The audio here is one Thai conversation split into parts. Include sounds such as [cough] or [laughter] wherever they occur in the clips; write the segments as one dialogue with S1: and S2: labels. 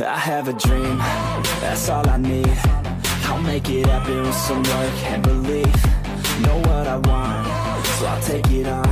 S1: I have a dream, that's all I need. I'll make it happen with some work and belief. Know what I want, so I'll take it on.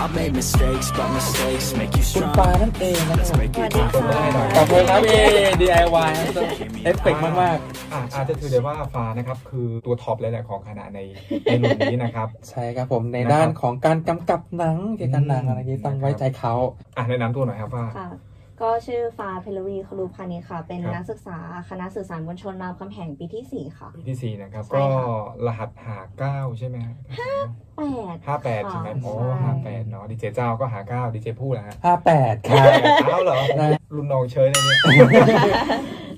S1: I've made mistakes, but mistakes make you
S2: คุณ
S1: strong.
S2: ปานั่นเองนะค
S1: Let's
S2: รับ
S1: break
S3: สวั
S1: it
S3: สดี
S2: ขอ
S3: ค่ะ
S2: บคุณครับเย้
S4: DIY นะครับเอฟเฟกต์มาก
S5: อ่าอาจจะถือได้ว่าฟ้านะครับ คือตัวท็อปเลยแหละของคณะในในรุ่นนี้นะครับ
S2: ๆ ใช่ครับผมใน
S5: นะครับ
S2: ด้านของการกำกับหนังเกี่ยวกับหนัง
S5: อืม
S2: อะไรนี้ต้องไว้ใจเขา
S5: อ่าแนะนำตัวหน่อยครับว่า
S3: ค่ะ ก็ชื่อฟ้าเพลวีครูพานิชค่ะ เป็น
S5: ครับ
S3: นักศึกษาคณะสื่อสารมวลชนรามคำแหงปีที่ 4 ค่ะ
S5: ปีที่สี่นะครับ
S3: ใช่
S5: ก็
S3: ค่ะ
S5: รหัสหาเก้าใช่ไหมฮะ
S3: 8
S5: ห้าแปดใช่ไหม
S3: ค่ะ
S5: โอ้
S3: ใช่
S5: ห้าแปดเนาะดีเจเจ้าก็หาเก้าดีเจพูดนะฮะ
S2: 58ครับ
S5: [laughs] เก้าเหรอ
S2: ได้
S5: รุ่นน้องเชยเลยเนี่ย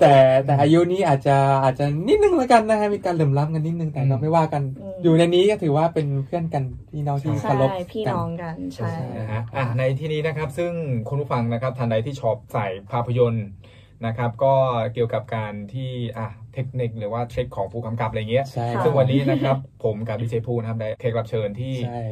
S2: แต่แต่อายุนี้อาจจะอาจจะนิดนึงแล้วกันนะฮะมีการเหลื่อมล้ำกันนิดนึงแต่
S5: อืม
S2: เราไม่ว่ากัน
S3: อืม
S2: อยู่ในนี้ก็ถือว่าเป็นเพื่อนกันพี่น้องที่
S3: ใช่
S2: เคารพ
S3: พี่
S2: กั
S3: น้องกันใช่
S5: นะฮะอ่ะในที่นี้นะครับซึ่งคุณผู้ฟังนะครับท่านใดที่ชอบใส่ภาพยนตร์นะครับ ก็เกี่ยวกับการที่อ่ะเทคนิคหรือว่าเทคของผู้กำกับอะไรเงี้ย
S2: ใช่
S3: ค่ะ
S5: ซึ่งวันนี้นะครับ ผมกับดีเจภูนะครับได้แขกรับเชิญที่
S2: ใช่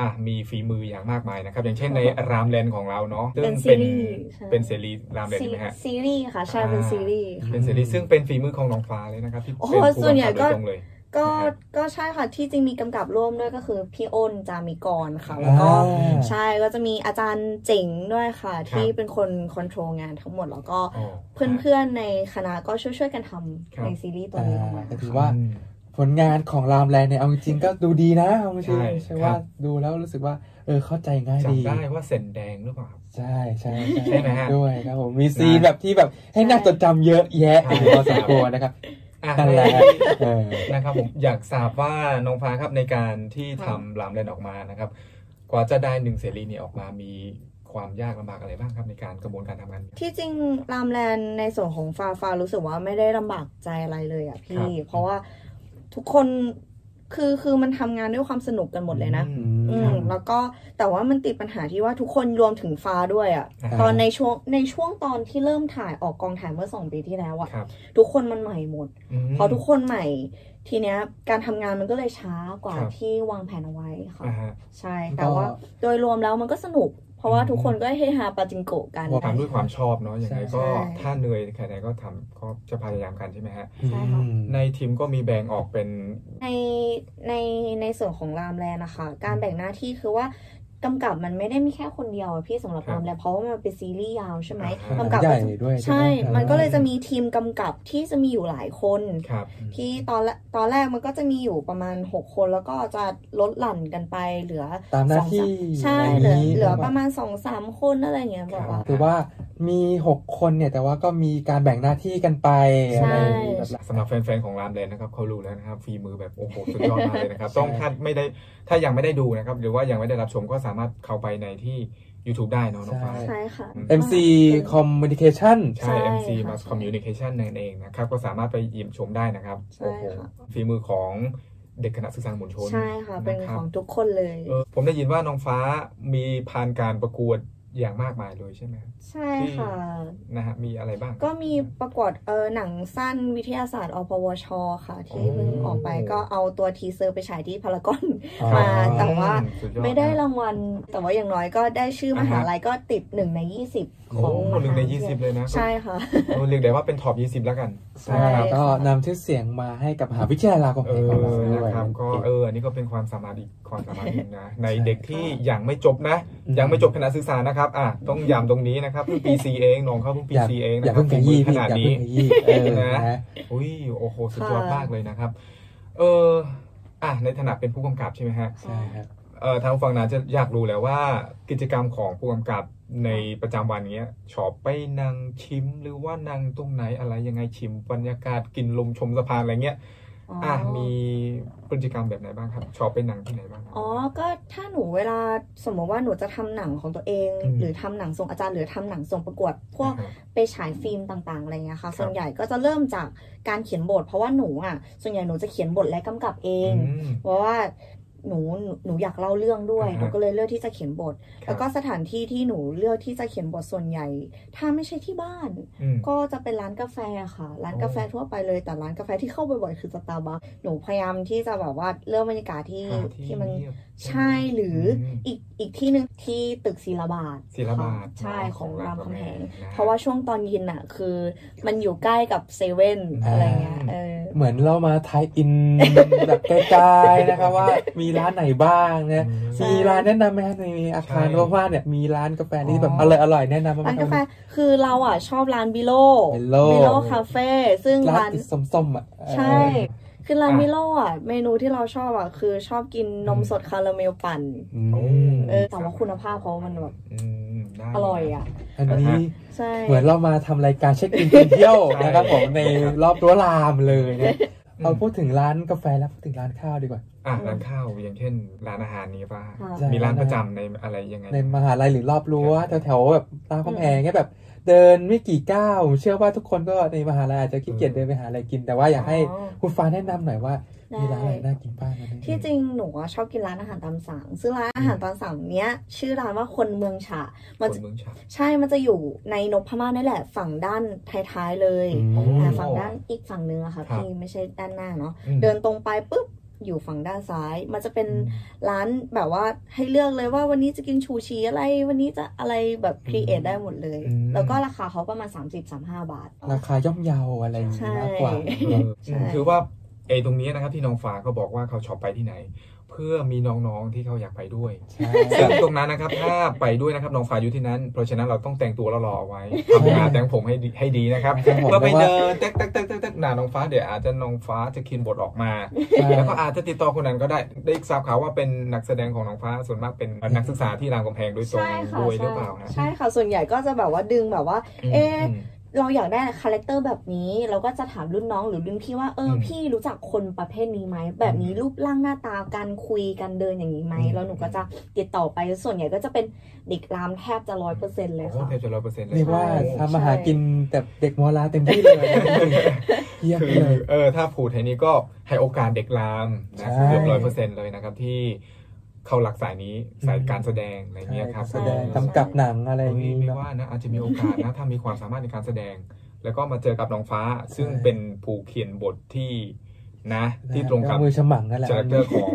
S5: อ่ะมีฝีมืออย่างมากมายนะครับ อย่างเช่นในรามแลนด์ของเราเนาะซึ่ง
S3: เป็นซีรีส์ใช่
S5: เป็นซีรีส์รามแลนด์
S3: ซี
S5: ใช่ไหมฮะ
S3: ซีรีส์ค่ะใช่เป็น
S5: อ่า
S3: ซีรีส์
S5: เป็นซีรีส์ซึ่งเป็นฝีมือของน้องฟ้าเลยนะครับที่
S3: โอ้
S5: เป็นผู้
S3: ส่วนใหญ่
S5: กำกับ
S3: ก็
S5: โดยตรงเลย
S3: ก็
S5: นะฮะ
S3: ก็ใช่ค่ะที่จริงมีกำกับร่วมด้วยก็คือพี่อ้นจามิกรค่ะ แล้วก็
S2: อ่า
S3: ใช่ก็จะมีอาจารย์เจ๋งด้วยค่ะ ที่เป็นคนคอนโทรลงานทั้งหมดแล้วก็
S5: อ๋อ
S3: เพื่อนๆ ในคณะก็ช่วยๆ กันท
S5: ครับ
S3: ำในซีรีส์ตัว
S2: อ่า
S3: นี้ออกมา
S2: ก็ถือ
S3: ค่ะ
S2: ว่า
S5: อืม
S2: ผลงานของรามแลนด์เนี่ยเอาจริงๆก็ดูดีนะเอาจริง
S5: ใช่
S2: ๆใช่
S5: ครับ
S2: ว่าดูแล้วรู้สึกว่าเออเข้าใจง่ายดี
S5: จำได้ว่าเซนแดงหรือเปล่า
S2: ใช่ใช่
S5: ใช่ไหมฮะ
S2: ด้วยครับผมมีซีนแบบที่แบบให้น่าจดจำเยอะแยะ
S5: ใช่
S2: อยู่พอสมควรนะครับ
S5: อ่
S2: นั่นแหละเออ
S5: นะครับผมอยากทราบว่าน้องฟ้าครับในการที่ทำรามเรนออกมานะครับ กว่าจะได้หนึ่งเสรีนี่ออกมามีความยากลำบากอะไรบ้างครับในการกระบวนการทำงาน
S3: ที่จริงรามแลนด์ในส่วนของฟาฟารู้สึกว่าไม่ได้ลำบากใจอะไรเลยอ่ะ
S5: ครั
S3: พี่
S5: บ
S3: เพราะว่าทุกคนคือคือมันทำงานด้วยความสนุกกันหมดเลยนะ
S5: อืม
S3: อื
S2: ครั
S3: ม
S2: บ
S3: แล้วก็แต่ว่ามันติดปัญหาที่ว่าทุกคนรวมถึงฟ้าด้วยอ่ะ
S5: อ่า
S3: ตอนในช่วงในช่วงตอนที่เริ่มถ่ายออกกองถ่ายเมื่อสองปีที่แล้วอ่ะ
S5: ครับ
S3: ทุกคนมันใหม่หมด
S5: ม
S3: พอทุกคนใหม่ ทีเนี้ยการทำงานมันก็เลยช้ากว่า
S5: ครับ
S3: ที่วางแผนเอาไว้ค่ะ
S5: อ่าฮะ
S3: ใช่
S2: ก็
S3: แต่ว่าโดยรวมแล้วมันก็สนุก เพราะว่าทุกคนก็เฮฮาปาจิงโกะกัน
S5: ทำด้วยความชอบเนาะอย่างไรก็
S3: ใช่
S5: ถ้าเหนื่อยแค่ไหนก็ทำก็จะพยายามกันใช่ไหมฮะ
S3: ใช่ค่ะ
S2: อืม
S5: ในทีมก็มีแบ่งออกเป็น
S3: ในในในส่วนของรามแลนด์นะคะ การแบ่งหน้าที่คือว่ากำกับมันไม่ได้มีแค่คนเดียวอะพี่สำหรับ
S5: ครับ
S3: รามแลนด์เพราะว่ามันเป็นซีรีส์ยาวใช่ไหม
S5: อ่าฮะ
S3: กำกับ
S2: ใหญ่ด้วยใช่ไหมค
S3: ใช่
S2: รับ
S3: มันก็เลยจะมีทีมกำกับที่จะมีอยู่หลายคน
S5: ครับ
S3: ที่ตอนแรกตอนแรกมันก็จะมีอยู่ประมาณ 6 คนแล้วก็จะลดหลั่นกันไปเหลือ
S2: ตามหน้า
S3: สองส
S2: ที่
S3: ใช่
S2: ะ
S3: เห
S2: ไร
S3: ลือย่าง
S2: นี้
S3: เหลือประมาณสองสามคนอะไรอย่างเงี้ยแบบว่า
S2: ถือว่ามีหกคนเนี่ยแต่ว่าก็มีการแบ่งหน้าที่กันไป
S3: ใช่
S2: อะไรแบบนั้น
S5: สำหรับแฟนๆของรามเรนนะครับเขารู้แล้วนะครับฝีมือแบบโอ้โหสุดยอดมากเลยนะครับ
S2: ใช่
S5: ต้องถ้าไม่ได้ถ้ายังไม่ได้ดูนะครับ หรือว่ายังไม่ได้รับชมก็สามารถเข้าไปในที่ YouTube ได้เนาะน้องฟ้า
S3: ใช่ค่ะ
S2: MC Communication
S3: ใช่
S5: ใช่ MC
S3: ค่ะ
S5: Mass Communication นั่นเองนะครับ ก็สามารถไปเยี่ยมชมได้นะครับ
S3: ใช่
S5: โอ้โห
S3: ค่ะ
S5: ฝีมือของเด็กคณะศึกษาหมุนชน
S3: ใช่ค่ะ เป็น
S5: นะ
S3: ข
S5: รับ
S3: องทุกคนเลย
S5: เออผมได้ยินว่าน้องฟ้ามีผ่านการประกวดอย่างมากมายเลยใช่ไหมครับ
S3: ใช่ค่ะ
S5: นะฮะมีอะไรบ้าง
S3: ก็มีประกวดเออหนังสั้นวิทยาศาสตร์อพวช ค่ะ ที่เพิ่งออกไปก็เอาตัวทีเซอร์ไปฉายที่พารากอน
S2: อ๋อ
S3: มาแต่ว่า
S5: อืมสุดยอด
S3: ไม่ได้รางวัล แต่ว่าอย่างน้อยก็ได้ชื่อมหาลัยก็ติดหนึ่งใน 20 ของ
S5: โอ้
S3: ม
S5: หนึ่
S3: หาง
S5: ใน
S3: ลัย
S5: ยี่สิบเลยนะ
S3: ใช่ค่ะ
S5: เออเรียกได้ว่าเป็นท็อปยี่สิบแล้วกัน
S3: ใช่
S2: ใช่ครับก็นำชื่อเสียงมาให้กับมหาวิทยาลัยรามคำ
S5: เอ
S2: แหงของเราด้วย
S5: อนะครับก็เอออันนี้ก็เป็นความสามารถอีกความสามารถหนึ่งนะ [laughs] ใน
S2: ใช่
S5: เด็กที่ยังไม่จบนะ
S2: อื
S5: ยังไม่จบคณะศึกษานะครับ อ่ะ ต้องย้ำตรงนี้นะครับเพิ่งปีซีเองน้องเขาเพิ่งปี
S2: อย่า
S5: ซีเอง
S2: อ
S5: นะ
S2: ย่า
S5: ครับ
S2: เพิ่งขยี้
S5: ข
S2: พี่
S5: นาด
S2: อย่า
S5: นี้
S2: เพิ่งขยี้เออ
S5: นะ
S2: นะ
S5: อุ้ยโอ้โห สุดยอด
S3: ค่ะ
S5: มากเลยนะครับ เอออ่ะ ในฐานะเป็นผู้กำกับใช่ไหมฮะ
S2: ใช่ครับ
S5: เออทางฝั่งนั้นจะอยากรู้แล้วว่ากิจกรรมของผู้กำกับในประจำวันเนี้ย ชอบไปนั่งชิมหรือว่านั่งตรงไหนอะไรยังไงชิมบรรยากาศกินลมชมสะพานอะไรเงี้ย อ่ะ มีพฤติกรรมแบบไหนบ้างครับ ชอบไปนั่งที่ไหนบ้างครับ
S3: อ๋อ ก็ถ้าหนูเวลาสมมติว่าหนูจะทำหนังของตัวเอง
S5: อืม
S3: หรือทำหนังส่งอาจารย์หรือทำหนังส่งประกวด พวก
S5: อ่าฮะ
S3: ไปฉายฟิล์มต่างๆอะไรเงี้ยค่ะ
S5: ครับ
S3: ส่วนใหญ่ก็จะเริ่มจากการเขียนบท เพราะว่าหนูอ่ะ ส่วนใหญ่หนูจะเขียนบทและกำกับเอง
S5: อืม
S3: เพราะว่า หนูหนูหนูอยากเล่าเรื่องด้วย
S5: อ่าฮะ
S3: หนูก็เลยเลือกที่จะเขียนบท
S5: ครับ
S3: แล้วก็สถานที่ที่หนูเลือกที่จะเขียนบทส่วนใหญ่ ถ้าไม่ใช่ที่บ้าน
S5: อืม
S3: ก็จะเป็นร้านกาแฟค่ะ ร้านกาแฟทั่วไปเลยแต่ร้านกาแฟที่เข้าบ่อยๆคือสตาร์บัคหนูพยายามที่จะแบบว่าเลือกบรรยากาศที่
S5: หา
S3: ที่มัน
S5: เงียบ
S3: ใช่หรืออ
S5: ม
S3: อีกอีกที่หนึ่งที่ตึกศิลาบาท
S5: ศิลาบาท
S3: ค่ะใช่ของรามคำแหง
S5: นะ
S3: เพราะว่าช่วงตอนเย็นอ่ะ คือมันอยู่ใกล้กับเซเว่น
S2: อ่า
S3: อะไรเงี้ยเออ
S2: เหมือนเรามาไทยอิน
S3: [laughs]
S2: แบบไกลๆนะครับว่ามีร้านไหนบ้าง
S5: อื
S2: นะ
S5: ม
S3: ใช่
S2: มีร้านแนะนำไหมฮะในอาคาร
S5: ใช่
S2: ว่างๆเนี่ยมีร้านกาแฟที่แบบอร่อยอร่อยๆแนะนำบ้างไหม
S3: ร้าน
S2: ค
S3: กาแฟ
S2: รับ
S3: คือเราอ่ะชอบร้านบิโล
S2: Bilo
S3: บิโลคาเฟ่ซึ่ง
S2: ร้า
S3: ร้าน น
S2: ที่ส้มๆอ่ะเออ
S3: ใช่ คือร้าน
S5: อ่ะ
S3: บิโลอ่ะ เมนูที่เราชอบอ่ะ คือชอบกินนมสดคาราเมลปั่น
S5: โอ้
S2: ม
S3: เออแต่ว่าคุณภาพเขามันแบบ
S5: อืมน่า
S3: อร่อยอ่ะ
S2: อันนี้
S3: ใช่
S2: เหมือนเรามาทำรายการเช็คอินกินเที่ยว
S5: ใช่
S2: นะครับผมในรอบรั้วรามเลยนะเอาพูดถึงร้านกาแฟแล้วพูดถึงร้านข้าวดีกว่า
S5: อ่ะร้านข้าวอย่างเช่นร้านอาหารนี้ป่ะ
S3: ค่ะ
S5: มีร้านประจำในอะไรยังไง
S2: ในมหาลัยหรือรอบรั้ว
S5: ครับ
S2: แถวๆแบบตามคำแหงเงี้ยแบบ เดินไม่กี่ก้าวผมเชื่อว่าทุกคนก็ในมหาลัยอาจจะขี้เกียจเดินไปหาอะไรกิน แต่ว่าอยากให้
S3: อ๋อ
S2: คุณฟ้าแนะนำหน่อยว่า
S3: ได้
S2: มีร้านอะไรน่ากินบ้างวันนี้
S3: ที่จริงหนูอะชอบกินร้านอาหารตามสั่งซึ่งร้านอาหารตามสั่งเนี้ย ชื่อร้านว่าคนเมืองฉะ
S5: ค
S3: มัน
S5: น
S3: จะ
S5: เมืองฉะ
S3: ใช่มันจะอยู่ในนพม่านี่แหละ ฝั่งด้านท้ายๆเลย
S2: อื
S5: โอ้
S2: ม
S3: อ่าฝั่งด้านอีกฝั่งนึงอะค่ะ
S5: ครับ
S3: พี่ไม่ใช่ด้านหน้าเนาะ
S5: อืม
S3: เดินตรงไปปุ๊บอยู่ฝั่งด้านซ้าย มันจะเป็นร้านแบบว่าให้เลือกเลยว่าวันนี้จะกินชูชีอะไรวันนี้จะอะไรแบบครีเอทได้หมดเลย
S5: อืม
S3: แล้วก็ราคาเขาประมาณ 30-35 บาท
S2: ราคาย่อมเยาอะไรอย่างงี้มากกว่า
S3: ใช่
S5: เออ
S3: ใช่
S5: คือว่าไอ้ตรงนี้นะครับที่น้องฟ้าเขาบอกว่าเขาชอบไปที่ไหน เพื่อมีน้องๆที่เขาอยากไปด้วยซึ่งตรงนั้นนะครับถ้าไปด้วยนะครับน้องฟ้าอยู่ที่นั้น เพราะฉะนั้นเราต้องแต่งตัวหล่อๆไว้ทำงานแต่งผมให้ดีให้ดีนะครับ
S2: ครับผม
S5: เพื่อ
S2: เพ
S5: ไป
S2: ราะว่า
S5: เดินแต๊กแต๊กแต๊กแต๊กแต๊กหน้าน้องฟ้าเดี๋ยวอาจจะน้องฟ้าจะคินบทออกมา
S2: ใช่
S5: แล้วก็อาจจะติดต่อคนนั้นก็ได้ได้ทราบข่าวว่าเป็นนักแสดงของน้องฟ้าส่วนมากเป็นนักศึกษาที่รามคำแพงโดยตรง
S3: ใช่ค่ะ
S5: ด้วยหรือ
S3: ใช่
S5: เปล่านะ
S3: ใช่ค่ะส่วนใหญ่ก็จะแบบว่าดึงแบบว่า เอ๊ะ
S5: ม
S3: เราอยากได้คาแรคเตอร์แบบนี้ เราก็จะถามรุ่นน้องหรือรุ่นพี่ว่าเออ
S5: ม
S3: พี่รู้จักคนประเภทนี้ไหมแบบนี้รูปร่างหน้าตาการคุยการเดินอย่างนี้ไหม
S5: อืม
S3: แล้วหนูก็จะติดต่อไปส่วนใหญ่ก็จะเป็นเด็กรามแทบจะร้อยเปอร์เซ็นต์เลย
S5: โอ้โห
S3: ค่ะ
S5: แทบจะร้อยเปอร์เซ็นต์เล
S2: เรี
S5: ย
S2: ยกว่า
S3: ใช่
S2: ทำมาหากินแต่เด็กมอลาเต็มที่เลยเยี่ยม
S5: คือ
S2: เลย
S5: เออถ้าพูดไทยนี้ก็ให้โอกาสเด็กรามนะ
S2: ใช่
S5: เกือบร้อยเปอร์เซ็นต์เลยนะครับที่เข้าหลักสายนี้สายการแสดงอะไรเงี้ยครับ
S2: แสดง
S5: เออก
S2: ำกับหนังอะไรอย่าง
S5: เฮ้ย
S2: งี้
S5: ไม่
S2: เนาะ
S5: ว่านะอาจจะมีโอกาสนะ ถ้ามีความสามารถในการแสดง แล้วก็มาเจอกับน้องฟ้า ซึ่ง
S2: ใช่
S5: เป็นผู้เขียนบทที่นะ ที่ตรงกับ
S2: มือฉมังนั่นแหละ
S5: คาแรคเตอร์ของ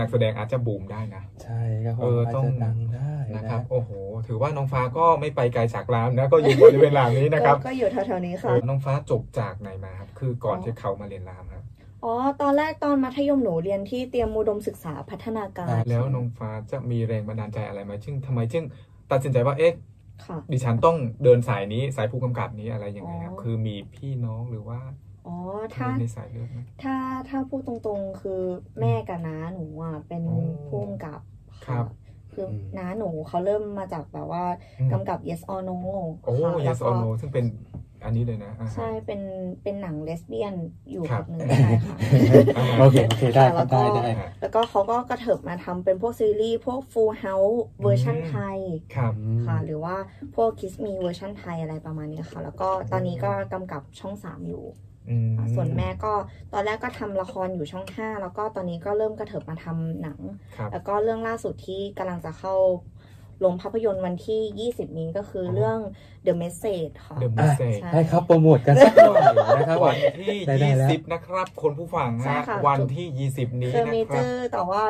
S5: นักแสดงอาจจะบูมได้นะ
S2: ใช่ครับผ
S5: เอ
S2: ม
S5: อ
S2: อาจ
S5: ต้อง
S2: จะดังได้นะ
S5: นะครับโอ้โห ถือว่าน้องฟ้าก็ไม่ไปไกลจากรามนะ ก็อยู่บริเวณรามนี้นะครับ
S3: ก็ก็อยู่แถวๆนี้
S5: เอ
S3: ค่ะ
S5: อน้องฟ้าจบจากไหนมาครับคือก่อนที่เขามาเรียนรามครับ
S3: อ๋อ ตอนแรกตอนมัธยมหนูเรียนที่เตรียมอุดมศึกษาพัฒนาการ
S2: อ่า
S5: แล้วน้องฟ้าจะมีแรงบันดาลใจอะไรไหมจึงทำไมจึงตัดสินใจว่าเอ๊ะ
S3: ค่ะ
S5: ดิฉันต้องเดินสายนี้สายผู้กำกับนี้อะไรยังไงครับ
S3: อ๋อ
S5: คือมีพี่น้องหรือว่า
S3: อ๋อถ้า
S5: ในสายเลือดไหม
S3: ถ้าถ้าพูดตรงๆคือแม่กับน้าหนูอ่ะเป็น
S5: โอ้
S3: ผู้กำกับ
S5: ครั
S3: ค่ะ
S5: บ
S3: คืออ
S2: ม
S3: น้าหนูเขาเริ่มมาจากแบบว่า
S5: อืม
S3: กำกับ yes or no
S5: โอ้
S3: ค่ะแล้ว
S5: yes
S3: ก็
S5: or no ซึ่งเป็นอันนี้เลยนะอ่าฮะ
S3: ใช่เป็นเป็นหนังเลสเบี้ยนอยู่
S5: ครั
S3: พั
S5: บ
S3: กหนึ่งใช่
S5: [laughs]
S3: ค่ะ
S2: โอเคโอเคได้ครับได้ได้
S5: อ่า
S3: แล้วก็เขาก็กระเถิบมาทำเป็นพวกซีรีส์พวก Full House เวอร์ชันไทย
S5: ครับ
S3: ค่ะ หรือว่าพวก Kiss Me เวอร์ชันไทยอะไรประมาณนี้ค่ะ แล้วก็ตอนนี้ก็กำกับช่อง 3 อยู่
S5: อืม
S3: ค่ะส่วนแม่ก็ตอนแรกก็ทำละครอยู่ช่อง 5 แล้วก็ตอนนี้ก็เริ่มกระเถิบมาทำหนัง
S5: ครับ
S3: แล้วก็เรื่องล่าสุดที่กำลังจะเข้าลงภาพยนตร์วันที่ 20 นี้ก็คือเรื่อง The Message ค่ะ
S5: เดอะมิสเซจ
S3: ใช่
S2: ให้ครับโปรโมทกันสักหน่อยนะครับผม
S5: วันที่
S2: ได้ได้แล้ว
S5: 20นะครับคนผู้ฟัง
S3: ใช่
S5: ฮะ
S3: ค่ะ
S5: วันที่ 20 นี้
S3: เจอ
S5: นะ
S3: เม
S5: ค
S3: เจ
S5: รับ
S3: อร์แต่ว่า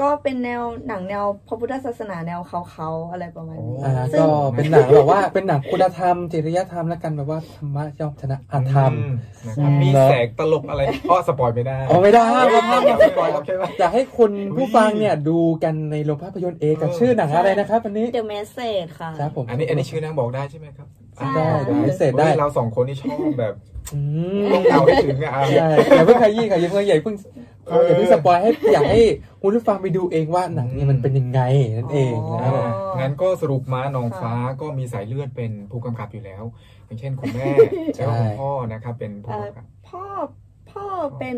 S3: ก็เป็นแนวหนังแนวพระพุทธศาสนาแนวเขาๆอะไรประมาณนี้
S5: โอ้
S2: อ่า
S3: ซึ่ง
S2: ก็เป็นหนังแบบว่าเป็นหนังคุณธรรมจริยธรรมแล้วกันแบบว่าธรรมะย่อมชนะอธรรม
S5: อืมนะครับมี
S2: แล้ว
S5: แสงตลกอะไร [laughs] อ้อสปอยไม่ได้
S2: เอาไม่ได้ครั
S5: ไม่
S2: บ
S5: ได้
S2: อย่า
S5: ส
S2: ไป
S5: ป
S2: ป
S5: อ
S2: ล่อย ย
S5: ค
S2: ค
S5: รั
S2: รั
S5: บบ ใช่ไหม
S2: อยากให้คุณผู้ฟังเนี่ยดูกันในโรงภาพยนตร์เอกับชื่อหนังอะไรนะครับอันนี้
S3: The Message ค่ะ
S2: ครับผม
S5: อันนี้อันนี้ชื่อนางบอกได้ใช่ไหมครับ
S3: ใช่
S5: อ่า
S2: ได้เสร็จได้
S5: ฮ้ยเราสองคนนี่ชอบแบบ
S2: อืม
S5: ต้องเอาให้ถึงอะอ่ะ
S2: ใช่อย่าเพิ่งขยี้ค่ะอย่าเพิ่งใหญ่าเพิ่ง
S5: เอออ
S2: อย่าเพิ่งสปอยให้อยากให้คุณผู้ฟังไปดูเองว่าหนังเนี่ยมันเป็นยังไงนั่นเองนะค
S5: อ่า
S2: รับผม
S5: งั้นก็สรุปมาน้องฟ้าก็มีสายเลือดเป็น
S3: [laughs]
S5: ผู้กำกับอยู่แล้ว อย่างเช่นคุณแม่แล้วก็คุณพ่อนะครับเป็นผู้กำกับ
S3: พ่อพ่อเป็น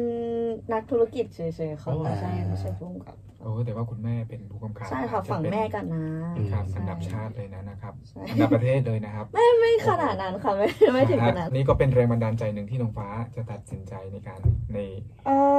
S3: นักธุรกิจเฉยๆค่ะ
S5: อ๋อ
S3: ไม่ใช่ไม่ใช่พุ่มกับ
S5: โอ้แต่ว่าคุณแม่เป็นผู้กำกับ
S3: ใช่ค่ะ
S5: จ
S3: ฝั่ง
S5: เป็น
S3: แม่กับน้า
S5: ครับ
S3: ใช่
S5: อันดับชาติเลยนะนะครับอันดับประเทศเลยนะครับ
S3: ไม่ขนาดนั้นค่ะ ไม่ไม่ถึงขนาดนั้น
S5: นี่ก็เป็นแรงบันดาลใจหนึ่งที่น้องฟ้าจะตัดสินใจในการใน
S3: เออ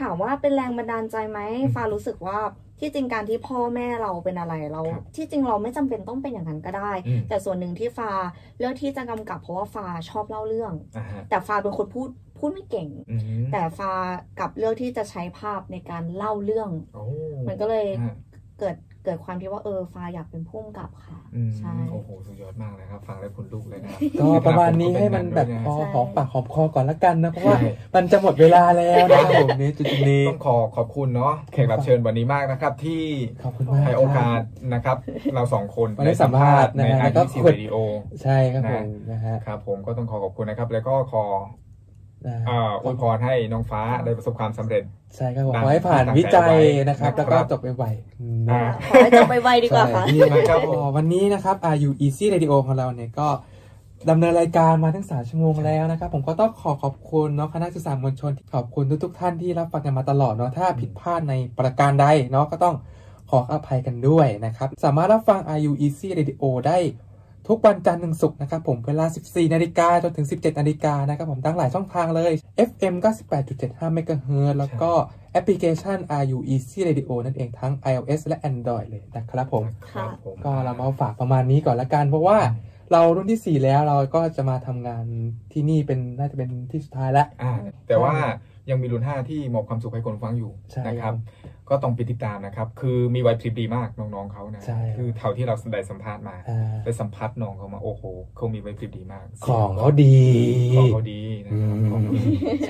S3: ถามว่าเป็นแรงบันดาลใจไหมฟ้ารู้สึกว่าที่จริงการที่พ่อแม่เราเป็นอะไรเรา
S5: ครับ
S3: ที่จริงเราไม่จำเป็นต้องเป็นอย่างนั้นก็ได้
S5: อืม
S3: แต่ส่วนหนึ่งที่ฟ้าเลือกที่จะกำกับเพราะว่าฟ้าชอบเล่าเรื่อง
S5: อ่าฮะ
S3: แต่ฟ้าเป็นคนพูดพูดไม่เก่ง
S5: อืม
S3: แต่ฟ้ากลับเลือกที่จะใช้ภาพในการเล่าเรื่อง
S5: โอ้
S3: มันก็เลย
S5: ฮะ
S3: เกิดเกิดความที่ว่าเออฟ้าอยากเป็นผู้กำกับค่ะ
S5: อืม
S3: ใช่
S5: โอ้โหสุดยอดมากเลยครับ ฟังแล้วขนลุกเลยนะ
S2: ก็ประมาณนี้ให้มันแบบพอ
S3: ใช่
S2: หอมปากหอมคอก่อนละกันนะเพราะว่า
S5: ใช่
S2: มันจะหมดเวลาแล้วนะครับผมนี้จุดๆนี้
S5: ต้องขอขอบคุณเนาะแขกรับเชิญวันนี้มากนะครับ ที่
S2: ขอบคุณมาก
S5: ให้โอกา
S2: ค
S5: ส
S2: รับ
S5: นะครับ เราสองคน
S2: วันนี้สัมภาษณ์
S5: ใน
S2: นะฮะ
S5: อา
S2: ก็
S5: ร์ซี
S2: คุย
S5: วิดีโอ
S2: ใช่ครับผม
S5: นะ
S2: นะฮะ
S5: ครับผมก็ต้องขอขอบคุณนะครับ แล้วก็ขอ
S2: นะ
S5: เอ่ออวยพรให้น้องฟ้าได้ประสบความสำเร็จ
S2: ใช่ครับผม
S5: นะ
S2: ขอให้ผ่านวิจัยนะครับ
S5: ตั้
S2: แล้ว
S5: ง
S2: ก็
S5: ใจไว้
S2: จบไวๆนะ
S5: อ่า
S3: ขอให้จบไปไวๆดีกว่าค่ะ
S2: ใช่
S5: นะค
S2: ค
S5: รั
S2: รั
S5: บบ ผ
S2: ผม
S5: ม
S2: วันนี้นะครับ RU Easy Radio ของเราเนี่ยก็ดำเนินรายการมาทั้ง 3 ชั่วโมงแล้วนะครับ ผมก็ต้องขอขอบคุณเนาะคณะสื่อสารมวลชนที่ขอบคุณทุกๆท่านที่รับฟังกันมาตลอดเนาะถ้าผิดพลาดในประการใดเนาะก็ต้องขออภัยกันด้วยนะครับ สามารถรับฟัง RU Easy Radio ได้ ทุกวันจันทร์ถึงศุกร์นะครับผมเวลา 14 นาฬิกาจนถึง 17 นาฬิกานะครับผมทั้งหลายช่องทางเลย FM 98.75 MHz แล้วก็แอปพลิเคชัน RU Easy Radio นั่นเองทั้ง iOS และ Android เลยนะครับผม
S5: ค
S3: ค่ะ
S5: รับผม
S2: ก็เรามาฝากประมาณนี้ก่อนละกัน เพราะว่าเรารุ่นทีสี่ 4 แล้วเราก็จะมาทำงานที่นี่เป็นน่าจะเป็นที่สุดท้ายละ
S5: อ่าแต่ว่ายังมีรุ่น 5 ที่มอบความสุขให้คนฟังอยู่
S2: ใช่
S5: นะครับ ก็ต้องไปติดตามนะครับ คือมีไหวพริบดีมากน้องๆเขานะ
S2: ใช่
S5: คือเท่าที่เราได้สัมภาษณ์มา
S2: อ่า
S5: ได้สัมภาษณ์น้องเขามาโอ้โหเขามีไหวพริบดีมาก
S2: ของเขาดี
S5: ของเขาดีนะ
S2: อื
S5: ค
S2: ม
S5: รับของเขาดี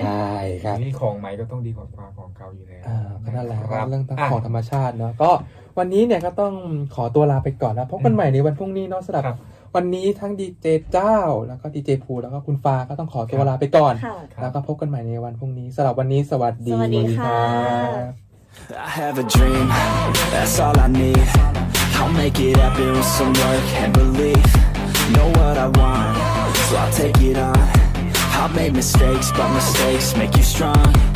S2: ใช่ครับ
S5: นี่ของใหม่ก็ต้องดีกว่ากว่าของเก่าอยู่แล้ว
S2: อ่าก็นั่นแหละ
S5: ครับ
S2: เรื่อง
S5: ะ
S2: ของธรรมชาติเนาะก็วันนี้เนี่ยก็ต้องขอตัวลาไปก่อนแล้วพบกันใหม่ในวันพรุ่งนี้เนาะสำหรับ
S5: ครับ
S2: วันนี้ทั้งดีเจเจ้า แล้วก็ดีเจภูแล้วก็คุณฟ้าก็ต้องขอตัวลาไปก่อน
S3: ค่ะ
S5: ครับ
S2: แล้วก็พบกันใหม่ในวันพรุ่งนี้สำหรับวันนี้สวัสดี
S3: สวัสดีค่ะ
S2: รับ
S1: I have a dream, that's all I need. I'll make it happen with some work and belief. Know what I want, so I'll take it on. I've made mistakes, but mistakes make you strong.